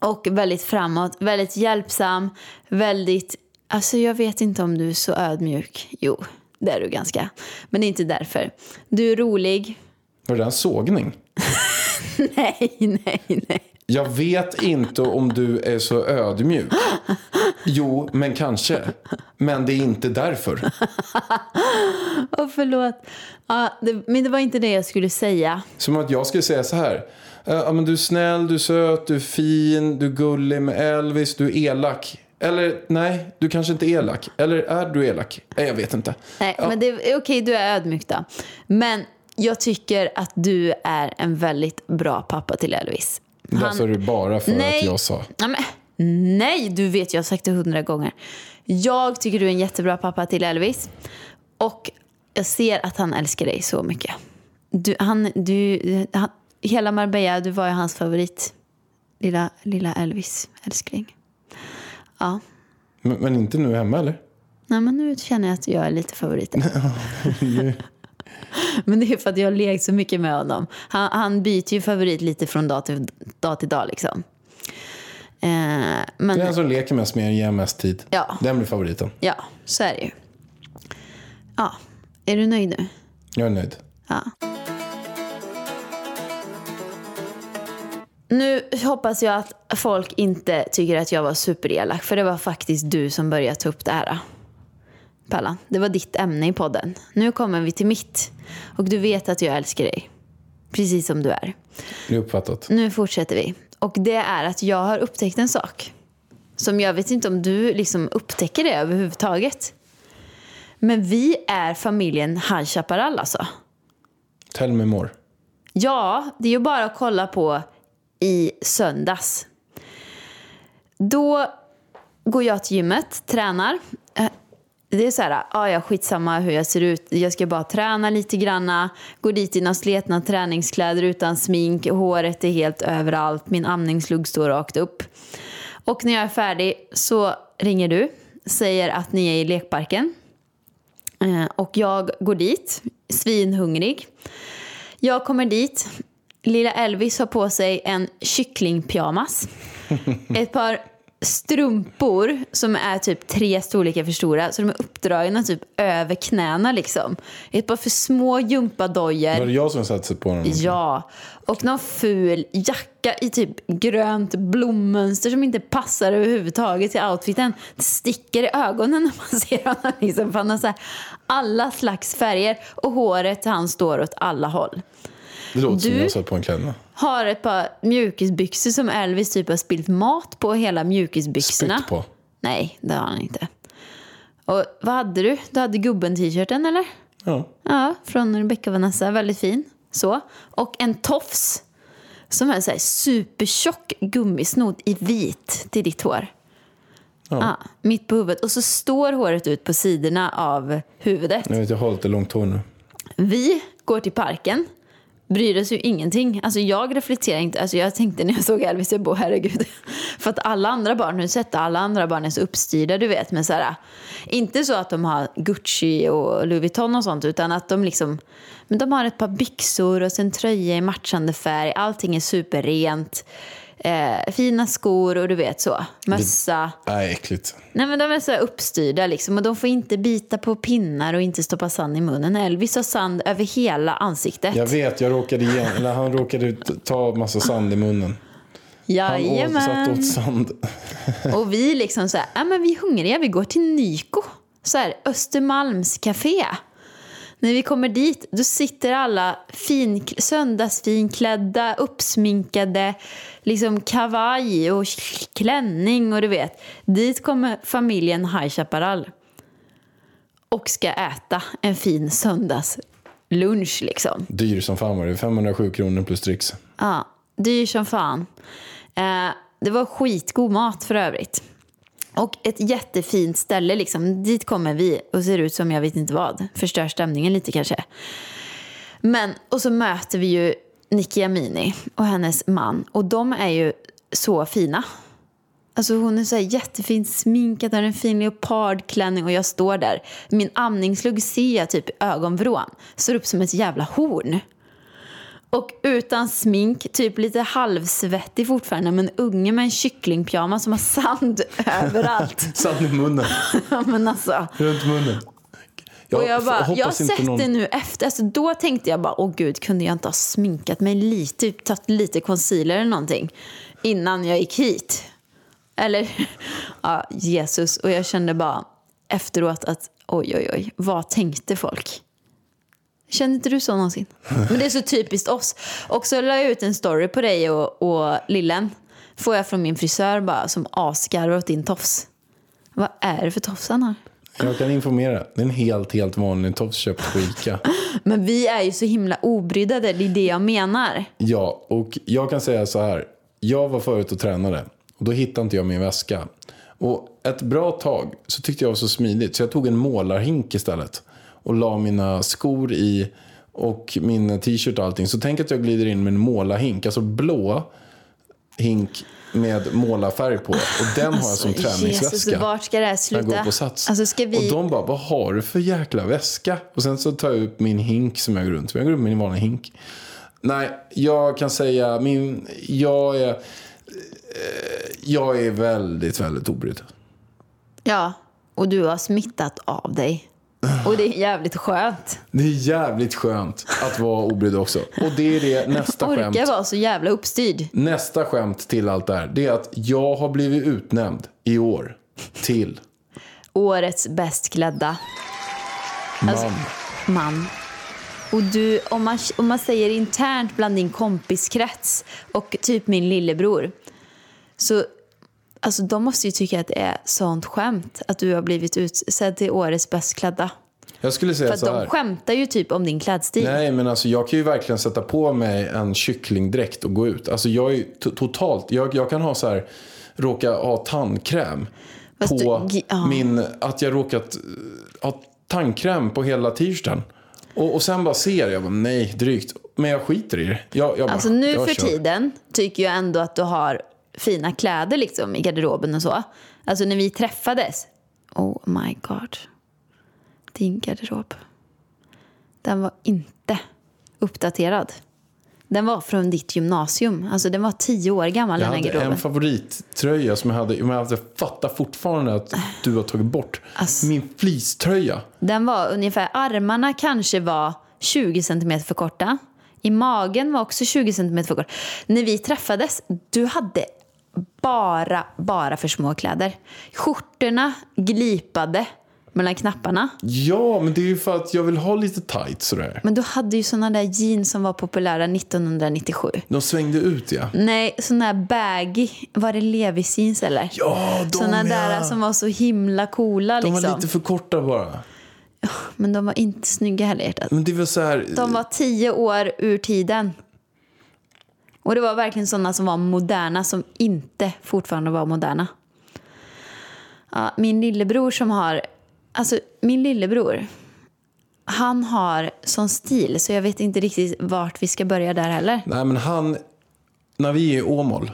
S3: Och väldigt framåt, väldigt hjälpsam, väldigt... Alltså jag vet inte om du är så ödmjuk. Jo, det är du ganska. Men det är inte därför. Du är rolig. (laughs)
S2: Var det en sågning?
S3: Nej, nej, nej.
S2: Jag vet inte om du är så ödmjuk. Jo, men kanske. Men det är inte därför.
S3: Åh, förlåt. Ja, det, men det var inte det jag skulle säga.
S2: Som att jag skulle säga så här. Eh, Ja, men du är snäll, du är söt, du är fin, du är gullig med Elvis, du är elak. Eller nej, du kanske inte är elak. Eller är du elak? Nej, jag vet inte.
S3: Nej, men det, okej, du är ödmjuk då. Men jag tycker att du är en väldigt bra pappa till Elvis.
S2: Det där sa du bara för
S3: Nej.
S2: att jag sa.
S3: Ja, men, nej, du vet, jag har sagt det hundra gånger. Jag tycker du är en jättebra pappa till Elvis. Och jag ser att han älskar dig så mycket. Du, han, du, han, hela Marbella, du var ju hans favorit. Lilla, lilla Elvis, älskling. Ja,
S2: Men, men inte nu hemma eller?
S3: nej, men nu känner jag att jag är lite favoriten. Men det är ju för att jag har lekt så mycket med honom. Han, han byter ju favorit lite från dag till dag, till dag liksom. Eh, men
S2: Den som leker mest med en ger mest tid.
S3: Ja.
S2: Den blir favoriten.
S3: ja, så är det ju. Ja, är du nöjd nu?
S2: Jag är nöjd.
S3: Nu hoppas jag att folk inte tycker att jag var superelak, för det var faktiskt du som började ta upp det här. Pallan, det var ditt ämne i podden. Nu kommer vi till mitt. Och du vet att jag älskar dig. Precis som du är.
S2: Det är uppfattat.
S3: Nu fortsätter vi. Och det är att jag har upptäckt en sak. Som jag vet inte om du liksom upptäcker det överhuvudtaget. Men vi är familjen High Chaparral alltså.
S2: Tell me more.
S3: Ja, det är ju bara att kolla på i söndags. Då går jag till gymmet, tränar. Eh, det är så här, ah, ja skitsamma hur jag ser ut, jag ska bara träna lite granna, gå dit i några sletna träningskläder utan smink, håret är helt överallt, min amningslugg står rakt upp. Och när jag är färdig så ringer du, säger att ni är i lekparken. Eh, Och jag går dit, svinhungrig. Jag kommer dit, lilla Elvis har på sig en kycklingpyjamas
S2: (laughs)
S3: ett par strumpor som är typ tre storlekar för stora. Så de är uppdragna typ över knäna liksom. Ett par för små
S2: Var det
S3: gympadojor.
S2: jag som satte sig på den?
S3: Ja. Och någon ful jacka i typ grönt blommönster som inte passar överhuvudtaget till outfiten. Det sticker i ögonen när man ser honom. Liksom. För han har så här alla slags färger och håret han står åt alla håll
S2: Det låter som
S3: Du-
S2: jag satt på en kläderna.
S3: har ett par mjukisbyxor som Elvis typ har spilt mat på hela mjukisbyxorna.
S2: Spytt på.
S3: Nej, det har han inte. Och vad hade du? Du hade gubben-t-shirten eller?
S2: Ja.
S3: Ja, från Rebecca Vanessa. Väldigt fin. Så. Och en tofs som är så här supertjock gummisnodd i vit till ditt hår. Ja. mitt på huvudet. Och så står håret ut på sidorna av huvudet.
S2: Jag vet, jag har lite långt hår nu.
S3: Vi går till parken, bryr oss ju ingenting. Alltså jag reflekterar inte. Alltså jag tänkte när jag såg Elvis, jag bara herregud. (laughs) För att alla andra barn, har du sett det? Alla andra barn är så uppstyrda, du vet. Men så här, inte så att de har Gucci och Louis Vuitton och sånt, utan att de liksom... Men de har ett par byxor och sen tröja i matchande färg. Allting är superrent. Eh, fina skor och du vet så. Mössa.
S2: Nej, äckligt.
S3: Nej men de är så här uppstyrda liksom och de får inte bita på pinnar och inte stoppa sand i munnen. Elvis har sand över hela ansiktet.
S2: Jag vet, jag råkade igen, eller han råkade ut- ta massa sand i munnen. Han åt, satt
S3: Jajamän.
S2: åt sand.
S3: Och vi liksom så här, ja men vi är hungriga, vi går till Nyko. Så här, Östermalms café. När vi kommer dit, då sitter alla fin, söndagsfinklädda, uppsminkade, liksom kavaj och klänning och du vet. Dit kommer familjen High Chaparral. Och ska äta en fin söndagslunch liksom.
S2: Dyr som fan var det. 507 kronor plus dricks.
S3: Ja, dyr som fan. Eh, det var skitgod mat för övrigt. Och ett jättefint ställe liksom. Dit kommer vi och ser ut som jag vet inte vad. Förstör stämningen lite kanske. Men, och så möter vi ju Nicky Amini och hennes man. Och de är ju så fina. Alltså hon är så här jättefint sminkad, har en fin leopardklänning och jag står där. Min amningslugg ser jag typ i ögonvrån. Ser upp som ett jävla horn. Och utan smink, typ lite halvsvettig fortfarande, men unge med en kycklingpyjamas som har sand (laughs) överallt.
S2: Sand i munnen.
S3: Ja, men alltså.
S2: Runt munnen.
S3: Och jag, bara,
S2: hoppas
S3: jag har sett
S2: inte någon-
S3: det nu efter. Alltså, då tänkte jag bara, åh gud, kunde jag inte ha sminkat mig lite, typ, tagit lite concealer eller någonting innan jag gick hit? Eller, (laughs) ja, Jesus. Och jag kände bara efteråt att, oj, oj, oj, vad tänkte folk? Känner inte du så
S2: (laughs)
S3: någonsin? Men det är så typiskt oss. Och så la jag ut en story på dig och, och lillen. Får jag från min frisör bara som asgarvar åt din tofs. Vad är det för tofs han har?
S2: Jag kan informera. Det är en helt, helt vanlig tofs köpt på Ica.
S3: Men vi är ju så himla obrydda, där, det är det jag menar.
S2: Ja, och jag kan säga så här. Jag var förut och tränade och då hittade inte jag min väska. Och ett bra tag så tyckte jag det var så smidigt så jag tog en målarhink istället och la mina skor i och min t-shirt och allting. Så tänk att jag glider in med en målarhink, alltså blå hink med målarfärg på. Och den har jag som träningsväska.
S3: Alltså, Jesus, vart ska det här
S2: Jag går
S3: sluta?
S2: på sats.
S3: Alltså ska vi...
S2: Och de bara, vad har du för jäkla väska? Och sen så tar jag upp min hink som jag går runt med. Jag går runt med min vanliga hink. Nej, jag kan säga, min, jag är... eh, Jag är väldigt, väldigt obrydd.
S3: Ja, och du har smittat av dig. Och det är jävligt skönt.
S2: Det är jävligt skönt att vara obrydd också. Och det är
S3: (laughs)
S2: det nästa skämt.
S3: Orka vara så jävla uppstyrd.
S2: Nästa skämt till allt det här. Det är att jag har blivit utnämnd i år till
S3: Årets bäst klädda Alltså,
S2: man.
S3: man. Och du, om man, om man säger internt bland din kompiskrets och typ min lillebror. Så alltså, de måste ju tycka att det är sånt skämt att du har blivit utsedd till årets bäst klädda.
S2: Jag skulle
S3: För
S2: säga
S3: att
S2: så här.
S3: de skämtar ju typ om din klädstil.
S2: Nej, men alltså jag kan ju verkligen sätta på mig en kycklingdräkt och gå ut. Alltså jag är ju to- totalt, jag, jag kan ha så här, råka ha tandkräm.
S3: Fast du-
S2: på
S3: gi- ja.
S2: min, att jag råkat eh, ha tandkräm på hela t-shirten. Och, och sen bara ser jag, jag bara, nej, drygt. Men jag skiter i det. Jag, jag bara,
S3: Alltså nu
S2: jag
S3: för
S2: kör.
S3: tiden tycker jag ändå att du har fina kläder liksom i garderoben och så. Alltså när vi träffades. Oh my god. Din garderob. Den var inte uppdaterad. Den var från ditt gymnasium. Alltså den var tio år gammal
S2: Jag
S3: den här
S2: hade
S3: garderoben.
S2: en favorittröja som jag hade, men jag fattar fortfarande att du har tagit bort.
S3: Alltså.
S2: Min fleecetröja.
S3: Den var ungefär, armarna kanske var 20 centimeter för korta. I magen var också 20 centimeter för kort. När vi träffades, du hade bara, bara för små kläder. Skjortorna glipade mellan knapparna.
S2: Ja, men det är ju för att jag vill ha lite tight sådär.
S3: Men du hade ju såna där jeans som var populära 1997.
S2: De svängde ut ja.
S3: Nej, såna där baggy. Var det Levi's jeans eller?
S2: Ja, de
S3: såna
S2: ja.
S3: där som var så himla coola
S2: De var
S3: liksom.
S2: lite för korta bara.
S3: Men de var inte snygga heller hjärtat.
S2: Men det var så här,
S3: De var tio år ur tiden. Och det var verkligen sådana som var moderna som inte fortfarande var moderna. Ja, min lillebror som har, alltså min lillebror, han har sån stil så jag vet inte riktigt vart vi ska börja där heller.
S2: Nej, men han... När vi är i Åmål,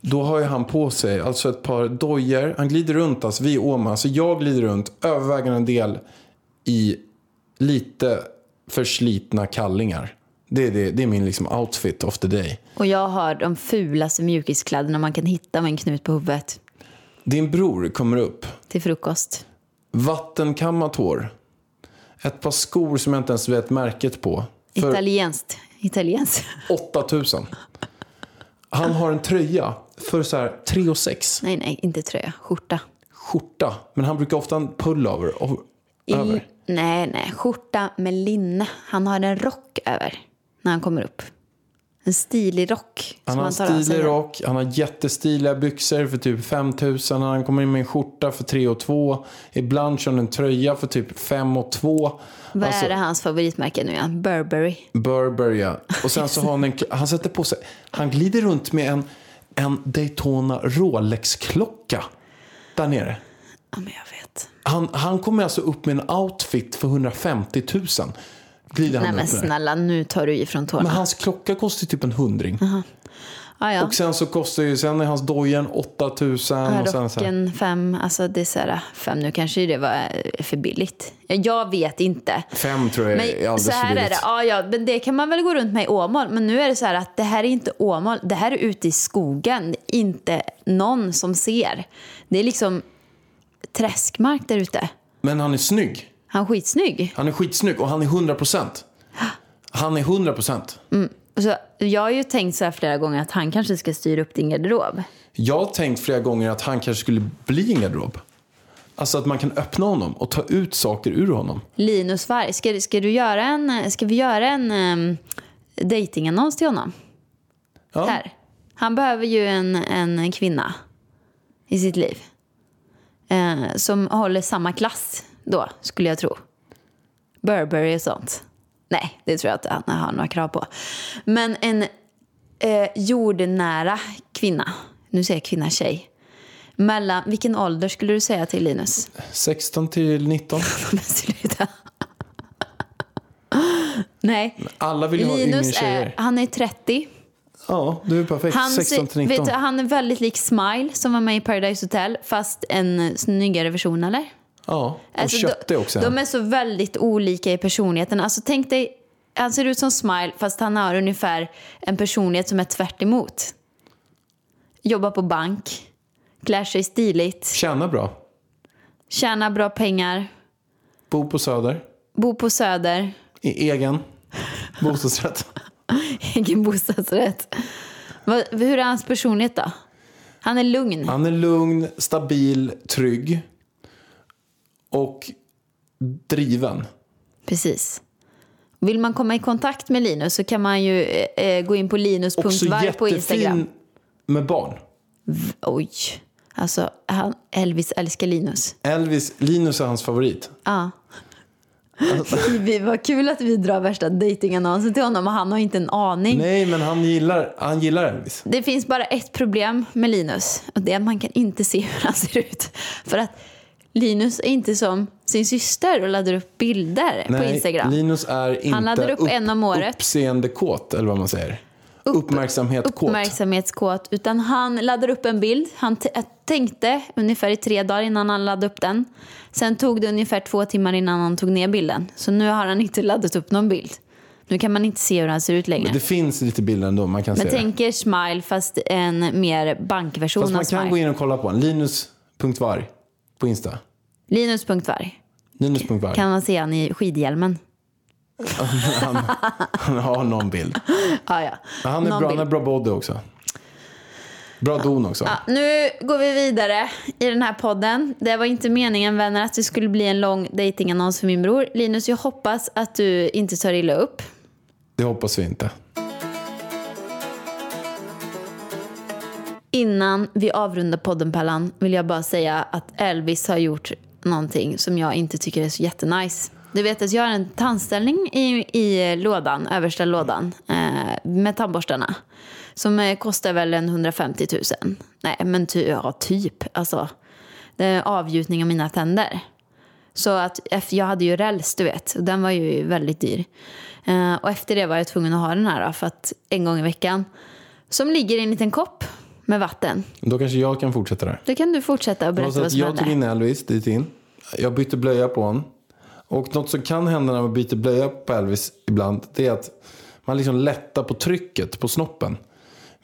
S2: då har ju han på sig alltså ett par dojer. Han glider runt, alltså vi är i Åmål. Alltså jag glider runt övervägande del i lite förslitna kallingar. Det är, det, det är min liksom outfit of the day.
S3: Och jag har de fulaste mjukiskläderna man kan hitta med en knut på huvudet
S2: Din bror kommer upp,
S3: till frukost.
S2: vattenkammat hår. Ett par skor som jag inte ens vet märket på. För
S3: Italienskt. Italienskt.
S2: 8000. Han har en tröja för så här 3 och 6.
S3: (laughs) Nej, nej, inte tröja. Skjorta.
S2: skjorta. Men han brukar ofta ha en pullover o-
S3: I-
S2: över.
S3: Nej, nej. Skjorta med linne. Han har en rock över när han kommer upp. En stilig rock.
S2: Han
S3: som
S2: har en
S3: tar av sig
S2: stilig
S3: den.
S2: rock, han har jättestiliga byxor för typ 5000. Han kommer in med en skjorta för 3 och 2. Ibland kör han en tröja för typ 5 och 2.
S3: Vad
S2: Alltså-
S3: är det hans favoritmärke nu igen? Burberry.
S2: Burberry, ja. Och sen så har han en, han sätter på sig, han glider runt med en, en Daytona Rolex-klocka där nere.
S3: Ja, men jag vet.
S2: Han, han kommer alltså upp med en outfit för 150 000. Glider
S3: Nej
S2: han
S3: men
S2: upp med.
S3: snälla, nu tar du ifrån
S2: Men
S3: tårna.
S2: hans klocka kostar ju typ en hundring.
S3: Ja, ja.
S2: Och sen så kostar ju, sen är hans dojen 8000 och sen så här.
S3: Rocken fem, alltså det är så här, fem nu kanske det var eh, för billigt. Jag vet inte.
S2: Fem tror jag är
S3: Men
S2: eh, alldeles
S3: så här
S2: för
S3: är
S2: billigt.
S3: det, ja, ja, men det kan man väl gå runt med i Åmål. Men nu är det så här att det här är inte Åmål, det här är ute i skogen. Det är Inte någon som ser. Det är liksom träskmark där ute.
S2: Men han är snygg.
S3: Han är skitsnygg.
S2: Han är skitsnygg och han är 100%. Han är 100%.
S3: Så jag har ju tänkt så här flera gånger att han kanske ska styra upp din garderob.
S2: Jag har tänkt flera gånger att han kanske skulle bli en garderob. Alltså att man kan öppna honom och ta ut saker ur honom.
S3: Linus Varg, ska, ska, du göra en, ska vi göra en um, dejtingannons till honom?
S2: Ja.
S3: Här. Han behöver ju en, en kvinna i sitt liv. Eh, som håller samma klass då, skulle jag tro. Burberry och sånt. Nej, det tror jag inte han har några krav på. Men en eh, jordnära kvinna. Nu säger jag kvinna, tjej. Mellan, vilken ålder skulle du säga till Linus? (laughs)
S2: 16 till 19.
S3: Men sluta. Nej.
S2: Alla vill ju ha yngre
S3: Linus
S2: tjejer.
S3: är, han är 30.
S2: Ja, du är perfekt.
S3: Han,
S2: 16 till
S3: ser-
S2: 19.
S3: vet du, han är väldigt lik Smile som var med i Paradise Hotel fast en eh, snyggare version eller?
S2: Ja, och
S3: Alltså,
S2: köpte
S3: de,
S2: också.
S3: De är så väldigt olika i personligheten. Alltså tänk dig, han ser ut som Smile fast han har ungefär en personlighet som är tvärt emot. Jobbar på bank, klär sig stiligt,
S2: Tjänar bra.
S3: tjänar bra pengar,
S2: Bor på Söder.
S3: bor på Söder. (laughs)
S2: I egen bostadsrätt.
S3: egen bostadsrätt. Vad- Hur är hans personlighet då? Han är lugn.
S2: Han är lugn, stabil, trygg och driven.
S3: Precis. Vill man komma i kontakt med Linus så kan man ju eh, eh, gå in på
S2: Också
S3: linus.varg på Instagram.
S2: jättefin med barn.
S3: Oj. Alltså, han, Elvis älskar Linus.
S2: Elvis, Linus är hans favorit.
S3: Ja.
S2: Alltså.
S3: (laughs) Vi, vad kul att vi drar värsta dejtingannonsen till honom och han har inte en aning.
S2: Nej, men han gillar, han gillar Elvis.
S3: Det finns bara ett problem med Linus och det är att man kan inte se hur han ser ut. För att Linus är inte som sin syster och laddar upp bilder på
S2: Nej,
S3: Instagram.
S2: Linus är inte
S3: laddar upp en om året.
S2: uppseendekåt, eller vad man säger. Uppmärksamhetkåt.
S3: Uppmärksamhetskåt. Utan han laddar upp en bild. Han t- äh, tänkte ungefär i tre dagar innan han laddade upp den. Sen tog det ungefär två timmar innan han tog ner bilden. Så nu har han inte laddat upp någon bild. Nu kan man inte se hur han ser ut längre.
S2: det finns lite bilder ändå, man kan
S3: Men
S2: se
S3: tänk er Smile fast en mer
S2: det.
S3: bankversion
S2: Fast man
S3: av
S2: kan
S3: Smile.
S2: gå in och kolla på honom. Linus.varg på Insta.
S3: Linus.varg.
S2: Linus.varg.
S3: Kan man se han i skidhjälmen?
S2: (laughs) Han har någon bild.
S3: Ah, ja.
S2: Men han är
S3: Någon
S2: bra, han
S3: bild.
S2: har bra body också. Bra don också.
S3: Ja, nu går vi vidare i den här podden. Det var inte meningen vänner att det skulle bli en lång dejtingannons för min bror. Linus, jag hoppas att du inte tar illa upp.
S2: Det hoppas vi inte.
S3: Innan vi avrundar podden Pallan vill jag bara säga att Elvis har gjort någonting som jag inte tycker är så jättenice. Du vet att jag har en tandställning i, i lådan, översta lådan, eh, med tandborstarna. Som eh, kostar väl en 150 000. Nej, men ty, ja, typ. Alltså, det är avgjutning av mina tänder. Så att eff- jag hade ju räls, du vet. Och den var ju väldigt dyr. Eh, och efter det var jag tvungen att ha den här då, för att en gång i veckan. Som ligger i en liten kopp med vatten.
S2: Då kanske jag kan fortsätta där.
S3: Då kan du fortsätta och
S2: Det var
S3: berätta
S2: så
S3: vad
S2: att
S3: som
S2: jag tog
S3: hände.
S2: in Elvis dit in. Jag bytte blöja på honom. Och något som kan hända när man byter blöja på Elvis ibland. Det är att man liksom lättar på trycket på snoppen.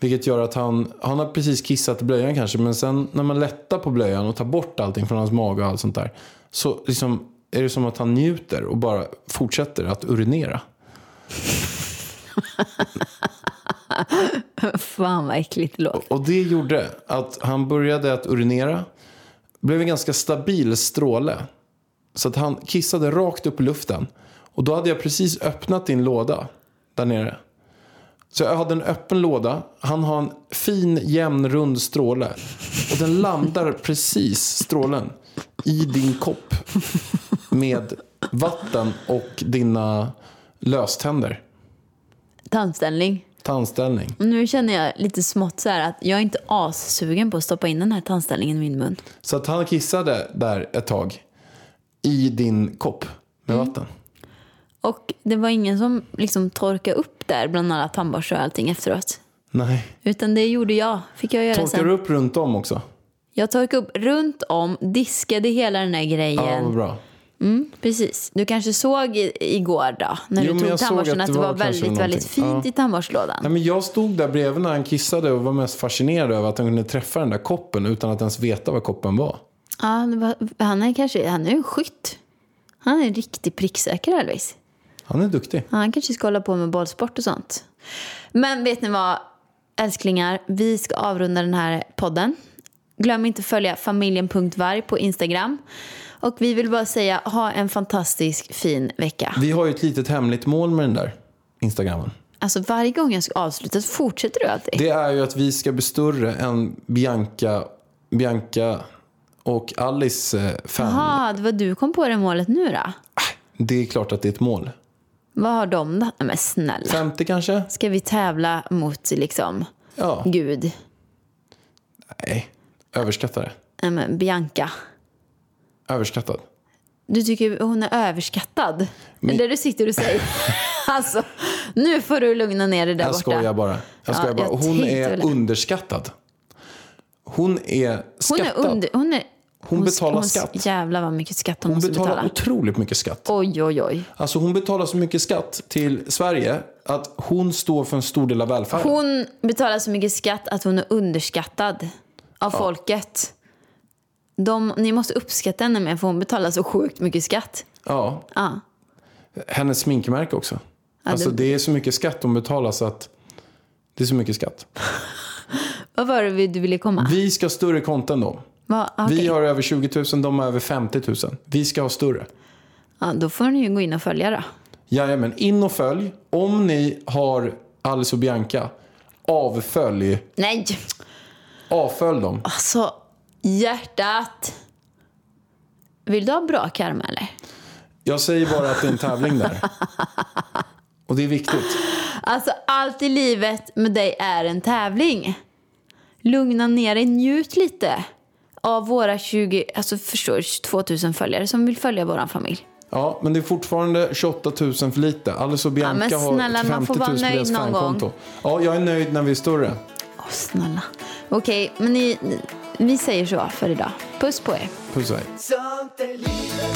S2: Vilket gör att han, han har precis kissat i blöjan kanske. Men sen när man lättar på blöjan och tar bort allting från hans mage och allt sånt där. Så liksom är det som att han njuter och bara fortsätter att urinera.
S3: Fan vad äckligt det låter.
S2: Och det gjorde att han började att urinera. Blev en ganska stabil stråle. Så att han kissade rakt upp i luften. Och då hade jag precis öppnat din låda där nere. Så jag hade en öppen låda. Han har en fin, jämn, rund stråle. Och den landar precis, strålen, i din kopp. Med vatten och dina löständer.
S3: Tandställning.
S2: Tandställning.
S3: Och nu känner jag lite smått så här att jag är inte assugen på att stoppa in den här tandställningen i min mun.
S2: Så att han kissade där ett tag i din kopp med vatten.
S3: Och det var ingen som liksom torkade upp där bland alla tandborstar och allting efteråt.
S2: Nej.
S3: Utan det gjorde jag. Fick jag göra
S2: Torkar
S3: sen.
S2: du upp runt om också?
S3: Jag torkade upp runt om, diskade hela den här
S2: Ja,
S3: grejen.
S2: vad bra.
S3: Mm, precis. Du kanske såg i, igår då, när
S2: Jo, men
S3: du tog
S2: jag såg
S3: tandborsten, att det var,
S2: kanske
S3: väldigt, väldigt
S2: någonting.
S3: fint
S2: Ja.
S3: i tandborstlådan.
S2: Nej, men jag stod där bredvid när han kissade och var mest fascinerad över att han kunde träffa den där koppen utan att ens veta vad koppen var.
S3: Ja, det var, han är kanske, han är ju en skytt. Han är en riktig pricksäker Elvis.
S2: Han är duktig.
S3: Ja, Han kanske ska hålla på med bollsport och sånt. Men vet ni vad, älsklingar? Vi ska avrunda den här podden. Glöm inte att följa familjen.varg på Instagram. Och vi vill bara säga, ha en fantastisk fin vecka.
S2: Vi har ju ett litet hemligt mål med den där Instagramen.
S3: Alltså varje gång jag ska avsluta så fortsätter du alltid.
S2: Det är ju att vi ska bli större än Bianca, Bianca och Alice eh, fan.
S3: Jaha, det var du kom på det målet nu då?
S2: Det är klart att det är ett mål.
S3: Vad har de då? Nej men snälla.
S2: 50 kanske?
S3: Ska vi tävla mot liksom
S2: Ja.
S3: Gud?
S2: Nej. Överskattar det.
S3: Nej men Bianca.
S2: Överskattad.
S3: Du tycker hon är överskattad?
S2: Men-
S3: Det är det du sitter
S2: (laughs)
S3: och säger. alltså, nu får du lugna ner dig där
S2: Jag
S3: borta.
S2: skojar bara. Jag skojar bara.
S3: jag
S2: hon
S3: tänkte väl det.
S2: är underskattad. Hon är
S3: Hon
S2: skattad.
S3: är under... Hon, är,
S2: Hon betalar skatt.
S3: Jävlar vad mycket skatt hon,
S2: Hon
S3: måste
S2: betalar
S3: betala.
S2: otroligt mycket skatt.
S3: Oj, oj, oj.
S2: Alltså hon betalar så mycket skatt till Sverige att hon står för en stor del av välfärden.
S3: Hon betalar så mycket skatt att hon är underskattad av folket. De, ni måste uppskatta henne mer för hon betalar så sjukt mycket skatt.
S2: Ja.
S3: Ja.
S2: Hennes sminkmärke också. Alltså det är så mycket skatt hon betalar så att det är så mycket skatt.
S3: Vad var det vi- du ville komma?
S2: Vi ska ha större konton än dem.
S3: Va, okej.
S2: Vi har över 20 000, de har över 50 000. Vi ska ha större.
S3: ja, då får ni ju gå in och följa då.
S2: Jajamän, in och följ. Om ni har Alice och Bianca, avfölj.
S3: Nej,
S2: Avfölj dem.
S3: alltså hjärtat. Vill du ha bra karma eller?
S2: Jag säger bara att det är en tävling
S3: (laughs)
S2: där. Och det är viktigt.
S3: Alltså allt i livet med dig är en tävling. Lugna ner dig, njut lite av våra 20, alltså förstår 2000 följare som vill följa våran familj.
S2: Ja, men det är fortfarande 28 000 för lite. Alice och Bianca
S3: men snälla,
S2: har 50
S3: man får
S2: 000 på
S3: vara
S2: deras
S3: nöjd någon gång.
S2: fankonto. Ja, jag är nöjd när vi är större.
S3: Åh snälla. Okej, men ni, ni, vi säger så för idag. Puss på er.
S2: Puss och hej.
S1: Sånt är livet,